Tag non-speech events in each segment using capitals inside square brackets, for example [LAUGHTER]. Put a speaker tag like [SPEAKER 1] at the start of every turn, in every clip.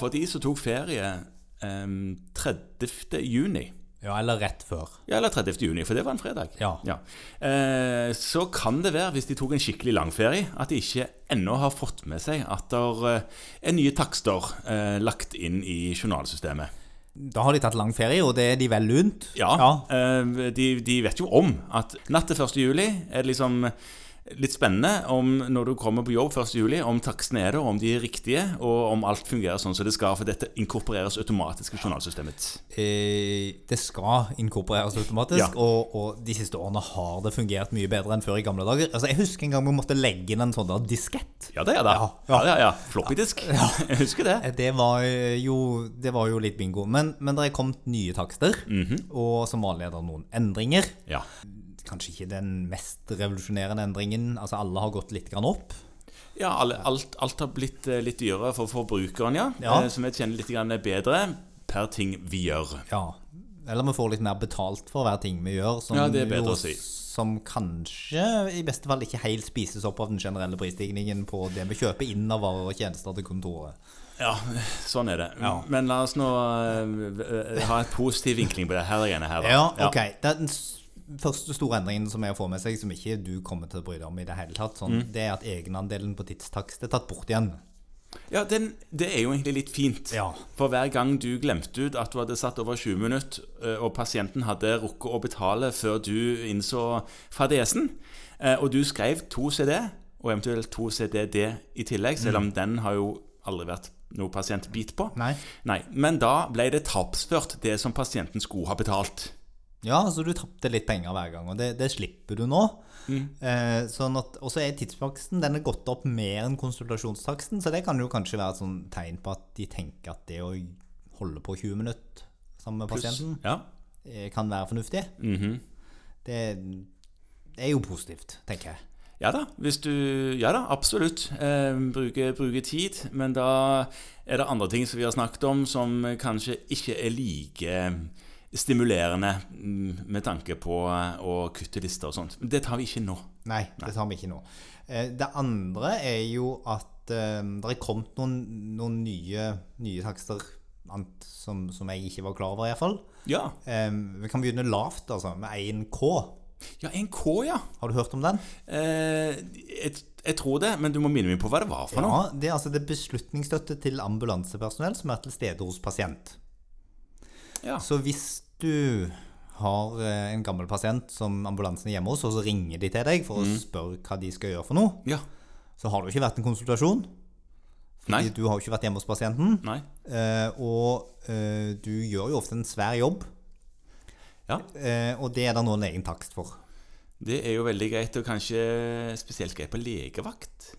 [SPEAKER 1] For de som tok ferie um, 30. juni
[SPEAKER 2] Ja, eller rett før.
[SPEAKER 1] Ja, eller 30. juni, for det var en fredag.
[SPEAKER 2] Ja.
[SPEAKER 1] Eh, så kan det være, hvis de tok en skikkelig langferie, at de ikke ennå har fått med seg at det er eh, nye takster eh, lagt inn i journalsystemet.
[SPEAKER 2] Da har de tatt lang ferie, og det er de vel lunt.
[SPEAKER 1] Ja, eh, de, de vet jo om at natt til 1. juli er det liksom litt spennende om når du kommer på jobb 1. juli, om takstene er der, om de er riktige, og om alt fungerer sånn som det skal, for dette inkorporeres automatisk i journalsystemet.
[SPEAKER 2] Eh, det skal inkorporeres automatisk,
[SPEAKER 1] Ja.
[SPEAKER 2] og, og de siste årene har det fungert mye bedre enn før i gamle dager. Altså, Jeg husker en gang vi måtte legge inn en sånn der diskett.
[SPEAKER 1] Ja, det er det.
[SPEAKER 2] Ja,
[SPEAKER 1] Ja,
[SPEAKER 2] ja.
[SPEAKER 1] ja, ja. Floppydisk. [LAUGHS] Jeg husker det.
[SPEAKER 2] Eh, Det var jo, det var jo litt bingo. Men, men det er kommet nye takster,
[SPEAKER 1] Mhm.
[SPEAKER 2] og som vanlig er det noen endringer.
[SPEAKER 1] Ja.
[SPEAKER 2] Kanskje ikke den mest revolusjonerende endringen. Altså, alle har gått litt grann opp.
[SPEAKER 1] Ja, alle- alt, alt har blitt eh, litt dyrere for forbrukeren, ja.
[SPEAKER 2] Ja.
[SPEAKER 1] Eh, Som jeg tjener litt grann bedre per ting vi gjør.
[SPEAKER 2] Ja. Eller vi får litt mer betalt for hver ting vi gjør. Som,
[SPEAKER 1] Ja, det er bedre
[SPEAKER 2] jo
[SPEAKER 1] å si.
[SPEAKER 2] som kanskje i beste fall ikke helt spises opp av den generelle prisstigningen på det vi kjøper inn av varer og tjenester til kontoret.
[SPEAKER 1] Ja, sånn er det. Men la oss nå eh, eh, ha en positiv vinkling på det her igjen. Her, da.
[SPEAKER 2] Ja, ok. Det er den s- første store endringen som jeg får med seg, som ikke du kommer til å bry deg om i det hele tatt,
[SPEAKER 1] Mm.
[SPEAKER 2] sånn, det er at egenandelen på tidstakst er tatt bort igjen.
[SPEAKER 1] Ja, den, det er jo egentlig litt fint.
[SPEAKER 2] Ja.
[SPEAKER 1] For hver gang du glemte ut at du hadde satt over 20 minutter, eh, og pasienten hadde rukket å betale før du innså fadesen, eh, og du skrev to CD, og eventuelt to CDD i tillegg, selv om den har jo aldri vært noe pasient bit på.
[SPEAKER 2] Mm. Nei.
[SPEAKER 1] Men da ble det tapsført, det som pasienten skulle ha betalt.
[SPEAKER 2] Ja, så du tapte litt penger hver gang, og det, det slipper du nå. Eh, sånn at, og så er tidstaksten den er gått opp mer enn konsultasjonstaksten, så det kan jo kanskje være et sånn tegn på at de tenker at det å holde på 20 minutter sammen med pasienten
[SPEAKER 1] Ja.
[SPEAKER 2] eh, kan være fornuftig. det, det er jo positivt, tenker jeg.
[SPEAKER 1] Ja da, hvis du, ja da absolutt. Eh, bruke, bruke tid. Men da er det andre ting som vi har snakket om, som kanskje ikke er like eh, stimulerende mm, med tanke på eh, å kutte lister og sånt. Men det tar vi ikke nå.
[SPEAKER 2] Nei, det tar vi ikke nå. Eh, Det andre er jo at eh, det er kommet noen, noen nye, nye takster ant- som, som jeg ikke var klar over, iallfall.
[SPEAKER 1] Ja.
[SPEAKER 2] Um, vi kan begynne lavt, altså, med 1K.
[SPEAKER 1] Ja, en K, ja.
[SPEAKER 2] Har du hørt om den?
[SPEAKER 1] Eh, jeg, jeg tror det, men du må minne meg på hva det var for noe.
[SPEAKER 2] Ja, det er altså det er beslutningsstøtte til ambulansepersonell som er til stede hos pasient.
[SPEAKER 1] Ja.
[SPEAKER 2] Så hvis du har eh, en gammel pasient som ambulansen er hjemme hos, og så ringer de til deg for
[SPEAKER 1] Mm.
[SPEAKER 2] å spørre hva de skal gjøre for noe,
[SPEAKER 1] ja.
[SPEAKER 2] så har det jo ikke vært en konsultasjon. Fordi
[SPEAKER 1] Nei.
[SPEAKER 2] du har jo ikke vært hjemme hos pasienten.
[SPEAKER 1] Nei.
[SPEAKER 2] Eh, og eh, du gjør jo ofte en svær jobb,
[SPEAKER 1] Ja.
[SPEAKER 2] eh, og det er det nå en egen takst for.
[SPEAKER 1] Det er jo veldig greit, og kanskje spesielt greit på legevakt.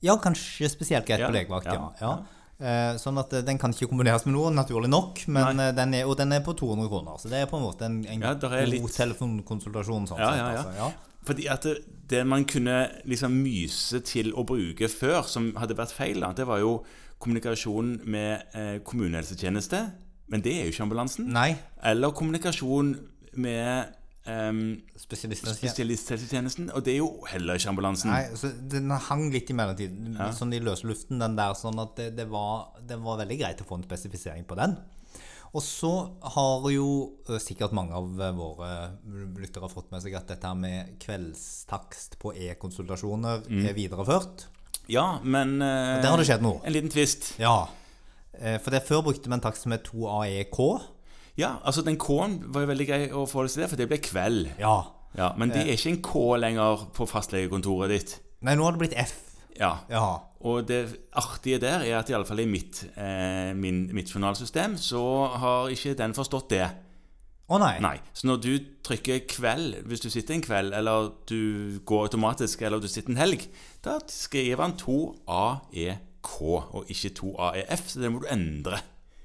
[SPEAKER 2] Ja, kanskje spesielt greit
[SPEAKER 1] Ja,
[SPEAKER 2] på legevakt, ja.
[SPEAKER 1] ja,
[SPEAKER 2] ja. Eh, Sånn at eh, den kan ikke kombineres med noe, naturlig nok, men eh, den er, og den er på 200 kroner. Så det er på en måte en, en
[SPEAKER 1] Ja, der er
[SPEAKER 2] god
[SPEAKER 1] litt-
[SPEAKER 2] telefonkonsultasjon. Sånn
[SPEAKER 1] Ja,
[SPEAKER 2] sett,
[SPEAKER 1] ja, ja.
[SPEAKER 2] Altså, ja.
[SPEAKER 1] Fordi at det, det man kunne liksom myse til å bruke før, som hadde vært feil, da, det var jo kommunikasjon med eh, kommunehelsetjeneste, men det er jo ikke ambulansen.
[SPEAKER 2] Nei,
[SPEAKER 1] Eller kommunikasjon med ehm,
[SPEAKER 2] spesialistene sier
[SPEAKER 1] spesialisthelsetjenesten, og det er jo heller ikke ambulansen.
[SPEAKER 2] Nei, så Den hang litt i mellomtiden, sånn i løsluften, den der. Sånn at det, det, var, det var veldig greit å få en spesifisering på den. Og så har jo eh, sikkert mange av eh, våre lyttere fått med seg at dette her med kveldstakst på e-konsultasjoner
[SPEAKER 1] Mm.
[SPEAKER 2] er videreført.
[SPEAKER 1] Ja, men eh,
[SPEAKER 2] Der har det skjedd noe.
[SPEAKER 1] En liten tvist.
[SPEAKER 2] Ja. Eh, For det før brukte vi en takst som het 2AEK.
[SPEAKER 1] Ja, altså den K-en var jo veldig grei å forholde seg til, for det ble kveld.
[SPEAKER 2] Ja. Eh.
[SPEAKER 1] Ja, men det er ikke en K lenger på fastlegekontoret ditt.
[SPEAKER 2] Nei, nå har det blitt F.
[SPEAKER 1] Ja,
[SPEAKER 2] Ja.
[SPEAKER 1] Og det artige der er at iallfall i mitt, eh, min, mitt journalsystem så har ikke den forstått det.
[SPEAKER 2] Å nei.
[SPEAKER 1] Nei. Så når du trykker 'kveld' hvis du sitter en kveld, eller du går automatisk, eller du sitter en helg, da skriver han 2AEK og ikke 2AEF, så det må du endre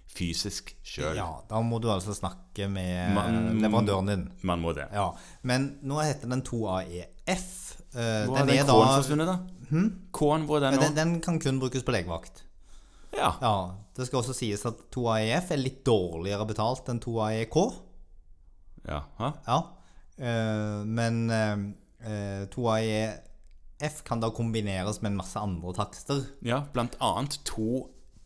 [SPEAKER 1] fysisk sjøl.
[SPEAKER 2] Ja, da må du altså snakke med eh,
[SPEAKER 1] Man-
[SPEAKER 2] leverandøren din.
[SPEAKER 1] Man må det.
[SPEAKER 2] mm. Ja. Men nå heter den 2AEF. Eh,
[SPEAKER 1] Hvor har
[SPEAKER 2] er
[SPEAKER 1] den
[SPEAKER 2] da- Hm?
[SPEAKER 1] K-en forsvunnet, da? K-en, hvor er
[SPEAKER 2] Ja,
[SPEAKER 1] den
[SPEAKER 2] den,
[SPEAKER 1] nå?
[SPEAKER 2] den kan kun brukes på legevakt.
[SPEAKER 1] Ja.
[SPEAKER 2] Ja, Det skal også sies at 2AEF er litt dårligere betalt enn E 2AEK.
[SPEAKER 1] ja. Hæ?
[SPEAKER 2] Ja. Eh, men eh, eh, 2AEF F kan da kombineres med en masse andre takster.
[SPEAKER 1] Ja, blant annet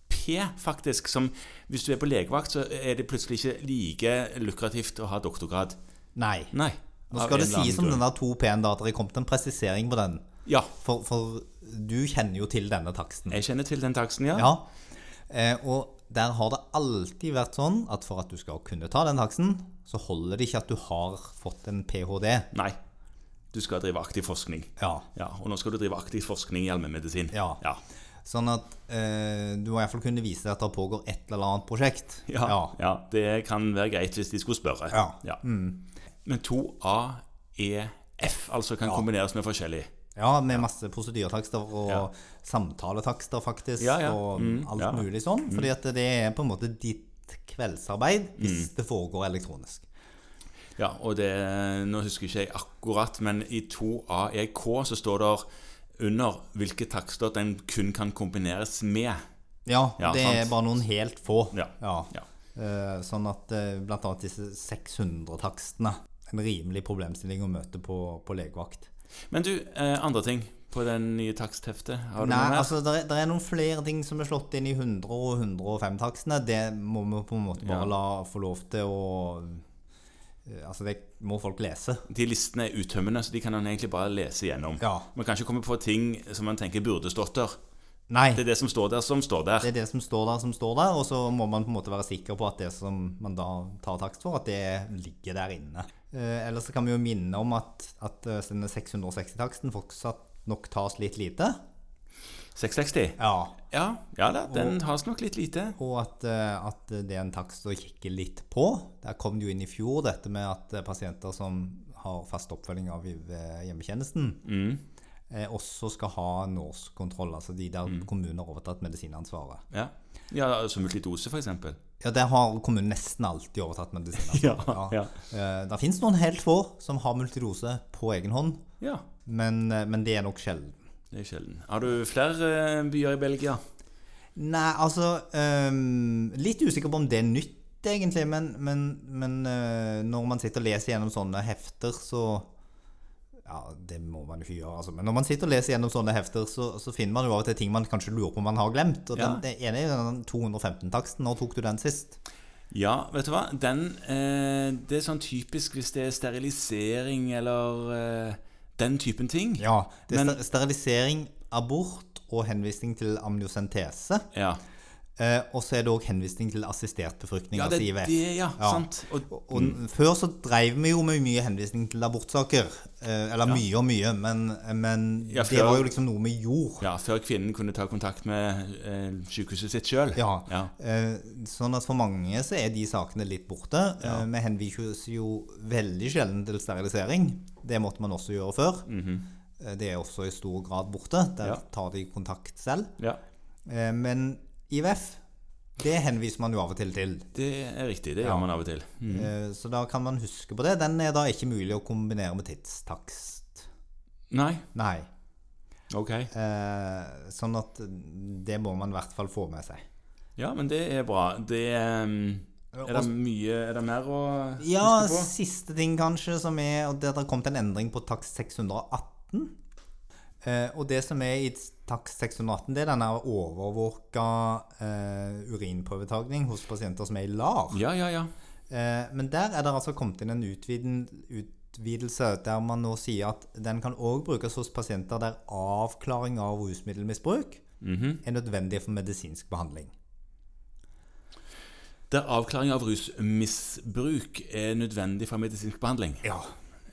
[SPEAKER 1] 2P, faktisk. Som hvis du er på legevakt, så er det plutselig ikke like lukrativt å ha doktorgrad.
[SPEAKER 2] Nei.
[SPEAKER 1] Nei.
[SPEAKER 2] Nå
[SPEAKER 1] av
[SPEAKER 2] skal det
[SPEAKER 1] en eller annen
[SPEAKER 2] sies om
[SPEAKER 1] grunn.
[SPEAKER 2] den der 2P-en da, at det er kommet en presisering på den.
[SPEAKER 1] Ja.
[SPEAKER 2] For, for du kjenner jo til denne taksten.
[SPEAKER 1] Jeg kjenner til den taksten, ja.
[SPEAKER 2] Ja. Eh, og der har det alltid vært sånn at for at du skal kunne ta den taksten, så holder det ikke at du har fått en ph.d.
[SPEAKER 1] Nei. Du skal drive aktiv forskning.
[SPEAKER 2] Ja.
[SPEAKER 1] Ja, Og nå skal du drive aktiv forskning i allmennmedisin.
[SPEAKER 2] Ja.
[SPEAKER 1] ja.
[SPEAKER 2] Sånn at eh, du må iallfall kunne vise at det pågår et eller annet prosjekt.
[SPEAKER 1] Ja, ja, det kan være greit hvis de skulle spørre.
[SPEAKER 2] Ja. Mm.
[SPEAKER 1] Men 2AEF altså kan kombineres med forskjellig.
[SPEAKER 2] Ja, med masse prosedyretakster og
[SPEAKER 1] Ja.
[SPEAKER 2] samtaletakster, faktisk,
[SPEAKER 1] Ja, ja.
[SPEAKER 2] og
[SPEAKER 1] Mm, Mm.
[SPEAKER 2] alt
[SPEAKER 1] ja.
[SPEAKER 2] mulig sånn. Fordi at det er på en måte ditt kveldsarbeid hvis det foregår elektronisk.
[SPEAKER 1] Ja, og det, Nå husker ikke jeg akkurat, men i 2AEK så står det under hvilke takster den kun kan kombineres med.
[SPEAKER 2] Ja,
[SPEAKER 1] Ja,
[SPEAKER 2] det
[SPEAKER 1] sant.
[SPEAKER 2] er bare noen helt få.
[SPEAKER 1] Ja. Ja.
[SPEAKER 2] Eh, sånn at eh, blant annet disse 600-takstene En rimelig problemstilling å møte på, på legevakt.
[SPEAKER 1] Men du, eh, andre ting på den nye takstheftet? Har du
[SPEAKER 2] Nei,
[SPEAKER 1] noe mer?
[SPEAKER 2] altså det er, der er noen flere ting som er slått inn i 100 og 105-takstene. Det må vi på en måte
[SPEAKER 1] Ja.
[SPEAKER 2] bare la få lov til å eh, Altså, det må folk lese.
[SPEAKER 1] De listene er uttømmende, så de kan man egentlig bare lese gjennom.
[SPEAKER 2] Ja.
[SPEAKER 1] Man kan ikke komme på ting som man tenker burde stått der.
[SPEAKER 2] Nei.
[SPEAKER 1] Det er det som står der, som står der.
[SPEAKER 2] Det er det som står der, som står der, og så må man på en måte være sikker på at det som man da tar takst for, at det ligger der inne. Eh, ellers så kan vi jo minne om at, at eh, denne 660-taksten fortsatt nok tas litt lite.
[SPEAKER 1] 660?
[SPEAKER 2] Ja.
[SPEAKER 1] Ja, ja da, den tas nok litt lite.
[SPEAKER 2] Og at, eh, at det er en takst å kikke litt på. Der kom det jo inn i fjor dette med at eh, pasienter som har fast oppfølging av eh, hjemmetjenesten, eh, også skal ha en årskontroll, altså de der kommuner har overtatt medisinansvaret.
[SPEAKER 1] Ja, ja som multidose, for eksempel.
[SPEAKER 2] Ja, det har kommunen nesten alltid overtatt medisiner.
[SPEAKER 1] [LAUGHS] Ja, ja.
[SPEAKER 2] Eh, Det finnes noen helt få som har multirose på egen hånd,
[SPEAKER 1] Ja,
[SPEAKER 2] men, eh, men det er nok sjelden.
[SPEAKER 1] det er sjelden. Har du flere eh, byer i Belgia?
[SPEAKER 2] Nei, altså ehm, Litt usikker på om det er nytt, egentlig, men, men, men eh, når man sitter og leser gjennom sånne hefter, så ja, det må man jo ikke gjøre, altså. Men når man sitter og leser gjennom sånne hefter, så, så finner man jo av og til ting man kanskje lurer på om man har glemt. Og
[SPEAKER 1] Ja.
[SPEAKER 2] den, det ene er jo den 215-taksten. Når tok du den sist?
[SPEAKER 1] Ja, vet du hva? Den, eh, det er sånn typisk hvis det er sterilisering eller eh, den typen ting.
[SPEAKER 2] Ja, det er
[SPEAKER 1] Men-
[SPEAKER 2] ster- sterilisering, abort og henvisning til amniosentese.
[SPEAKER 1] Ja,
[SPEAKER 2] Eh, og så er det òg henvisning til assistert befruktning.
[SPEAKER 1] ja det
[SPEAKER 2] altså
[SPEAKER 1] er
[SPEAKER 2] IVF.
[SPEAKER 1] det, ja.
[SPEAKER 2] Ja.
[SPEAKER 1] Sant. Og,
[SPEAKER 2] Og Før så dreiv vi jo med mye henvisning til abortsaker. Eh, eller mye og mye, men, eh, men
[SPEAKER 1] Ja,
[SPEAKER 2] det
[SPEAKER 1] før-
[SPEAKER 2] var jo liksom noe vi gjorde.
[SPEAKER 1] ja, før kvinnen kunne ta kontakt med eh, sykehuset sitt sjøl.
[SPEAKER 2] Ja.
[SPEAKER 1] Ja.
[SPEAKER 2] Eh, sånn at for mange så er de sakene litt borte. Eh, vi henvises jo veldig sjelden til sterilisering. Det måtte man også gjøre før. Eh, det er også i stor grad borte.
[SPEAKER 1] Mhm.
[SPEAKER 2] Der
[SPEAKER 1] Ja.
[SPEAKER 2] tar de kontakt selv.
[SPEAKER 1] ja.
[SPEAKER 2] Eh, Men IVF, det henviser man jo av og til til.
[SPEAKER 1] Det er riktig. Det gjør man av og til. Mm.
[SPEAKER 2] Eh, Så da kan man huske på det. Den er da ikke mulig å kombinere med tidstakst.
[SPEAKER 1] Nei.
[SPEAKER 2] Nei.
[SPEAKER 1] Ok.
[SPEAKER 2] Eh, Sånn at det må man i hvert fall få med seg.
[SPEAKER 1] Ja, men det er bra. Det eh, Er det mye Er det mer å
[SPEAKER 2] Ja,
[SPEAKER 1] huske på?
[SPEAKER 2] siste ting kanskje som er og Det har kommet en endring på takst 618. Eh, og det som er i takst 618, det er denne overvåka eh, urinprøvetagning hos pasienter som er i LAR.
[SPEAKER 1] Ja, ja, ja.
[SPEAKER 2] Eh, men der er det altså kommet inn en utviden, utvidelse der man nå sier at den kan òg brukes hos pasienter der avklaring av rusmiddelmisbruk
[SPEAKER 1] Mhm.
[SPEAKER 2] er nødvendig for medisinsk behandling.
[SPEAKER 1] Der avklaring av rusmisbruk er nødvendig for medisinsk behandling.
[SPEAKER 2] Ja.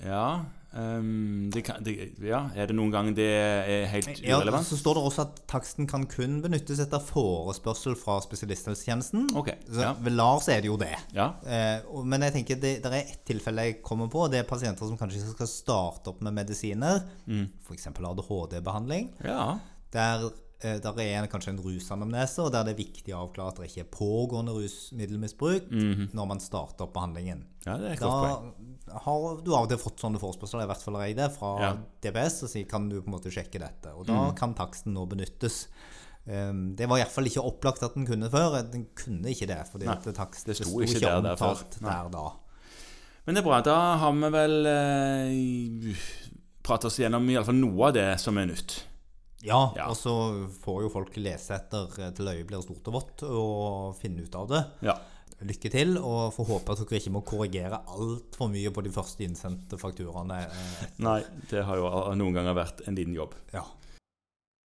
[SPEAKER 1] Ja, ehm, det kan, det, ja. Er det noen gang det er helt urelevant?
[SPEAKER 2] så står det også at taksten kan kun benyttes etter forespørsel fra spesialisthelsetjenesten.
[SPEAKER 1] Ok,
[SPEAKER 2] Så
[SPEAKER 1] ja.
[SPEAKER 2] Ved LAR så er det jo det.
[SPEAKER 1] Ja.
[SPEAKER 2] Eh, og- men jeg tenker det, det er ett tilfelle jeg kommer på. Det er pasienter som kanskje skal starte opp med medisiner,
[SPEAKER 1] Mm.
[SPEAKER 2] for f.eks. ADHD-behandling.
[SPEAKER 1] ja.
[SPEAKER 2] Der, eh, der er en, kanskje en rusanamnese, og der det er viktig å avklare at det ikke er pågående rusmiddelmisbruk når man starter opp behandlingen.
[SPEAKER 1] Ja, det er et Mhm. godt poeng.
[SPEAKER 2] Da har du av og til fått sånne forespørsler, i hvert fall har jeg det, fra
[SPEAKER 1] Ja. Mhm.
[SPEAKER 2] DPS, og sier kan du på en måte sjekke dette. Og da kan taksten nå benyttes. Um, det var i hvert fall ikke opplagt at den kunne før. Den kunne ikke det, fordi
[SPEAKER 1] Nei,
[SPEAKER 2] at takst
[SPEAKER 1] det sto ikke der der før.
[SPEAKER 2] omtalt
[SPEAKER 1] Nei.
[SPEAKER 2] der da.
[SPEAKER 1] Men det er bra. Da har vi vel eh, prate oss gjennom i alle fall noe av det som er nytt.
[SPEAKER 2] Ja,
[SPEAKER 1] Ja.
[SPEAKER 2] og så får jo folk lese etter eh, til øyet blir stort og vått, og finne ut av det.
[SPEAKER 1] Ja.
[SPEAKER 2] Lykke til, og får håpe at dere ikke må korrigere altfor mye på de første innsendte fakturaene. eh,
[SPEAKER 1] Nei, det har jo noen ganger vært en liten jobb.
[SPEAKER 2] Ja.